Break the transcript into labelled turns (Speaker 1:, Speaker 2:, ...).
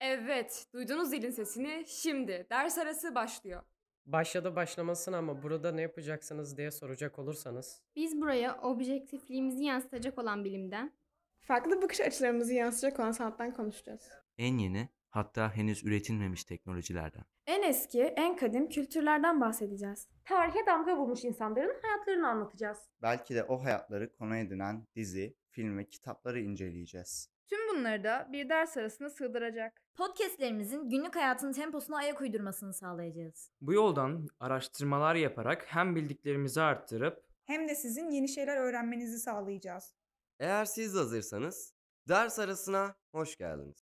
Speaker 1: Evet, duydunuz zilin sesini. Şimdi ders arası başlıyor.
Speaker 2: Başladı başlamasın ama burada ne yapacaksınız diye soracak olursanız.
Speaker 3: Biz buraya objektifliğimizi yansıtacak olan bilimden,
Speaker 4: Farklı bakış açılarımızı yansıtacak olan sanattan konuşacağız.
Speaker 5: En yeni, hatta henüz üretilmemiş teknolojilerden.
Speaker 6: En eski, en kadim kültürlerden bahsedeceğiz.
Speaker 7: Tarihe damga vurmuş insanların hayatlarını anlatacağız.
Speaker 8: Belki de o hayatları konu edinen dizi, film ve kitapları inceleyeceğiz.
Speaker 9: Tüm bunları da bir ders arasına sığdıracak.
Speaker 10: Podcastlerimizin günlük hayatın temposuna ayak uydurmasını sağlayacağız.
Speaker 11: Bu yoldan araştırmalar yaparak hem bildiklerimizi arttırıp
Speaker 12: hem de sizin yeni şeyler öğrenmenizi sağlayacağız.
Speaker 13: Eğer siz de hazırsanız ders arasına hoş geldiniz.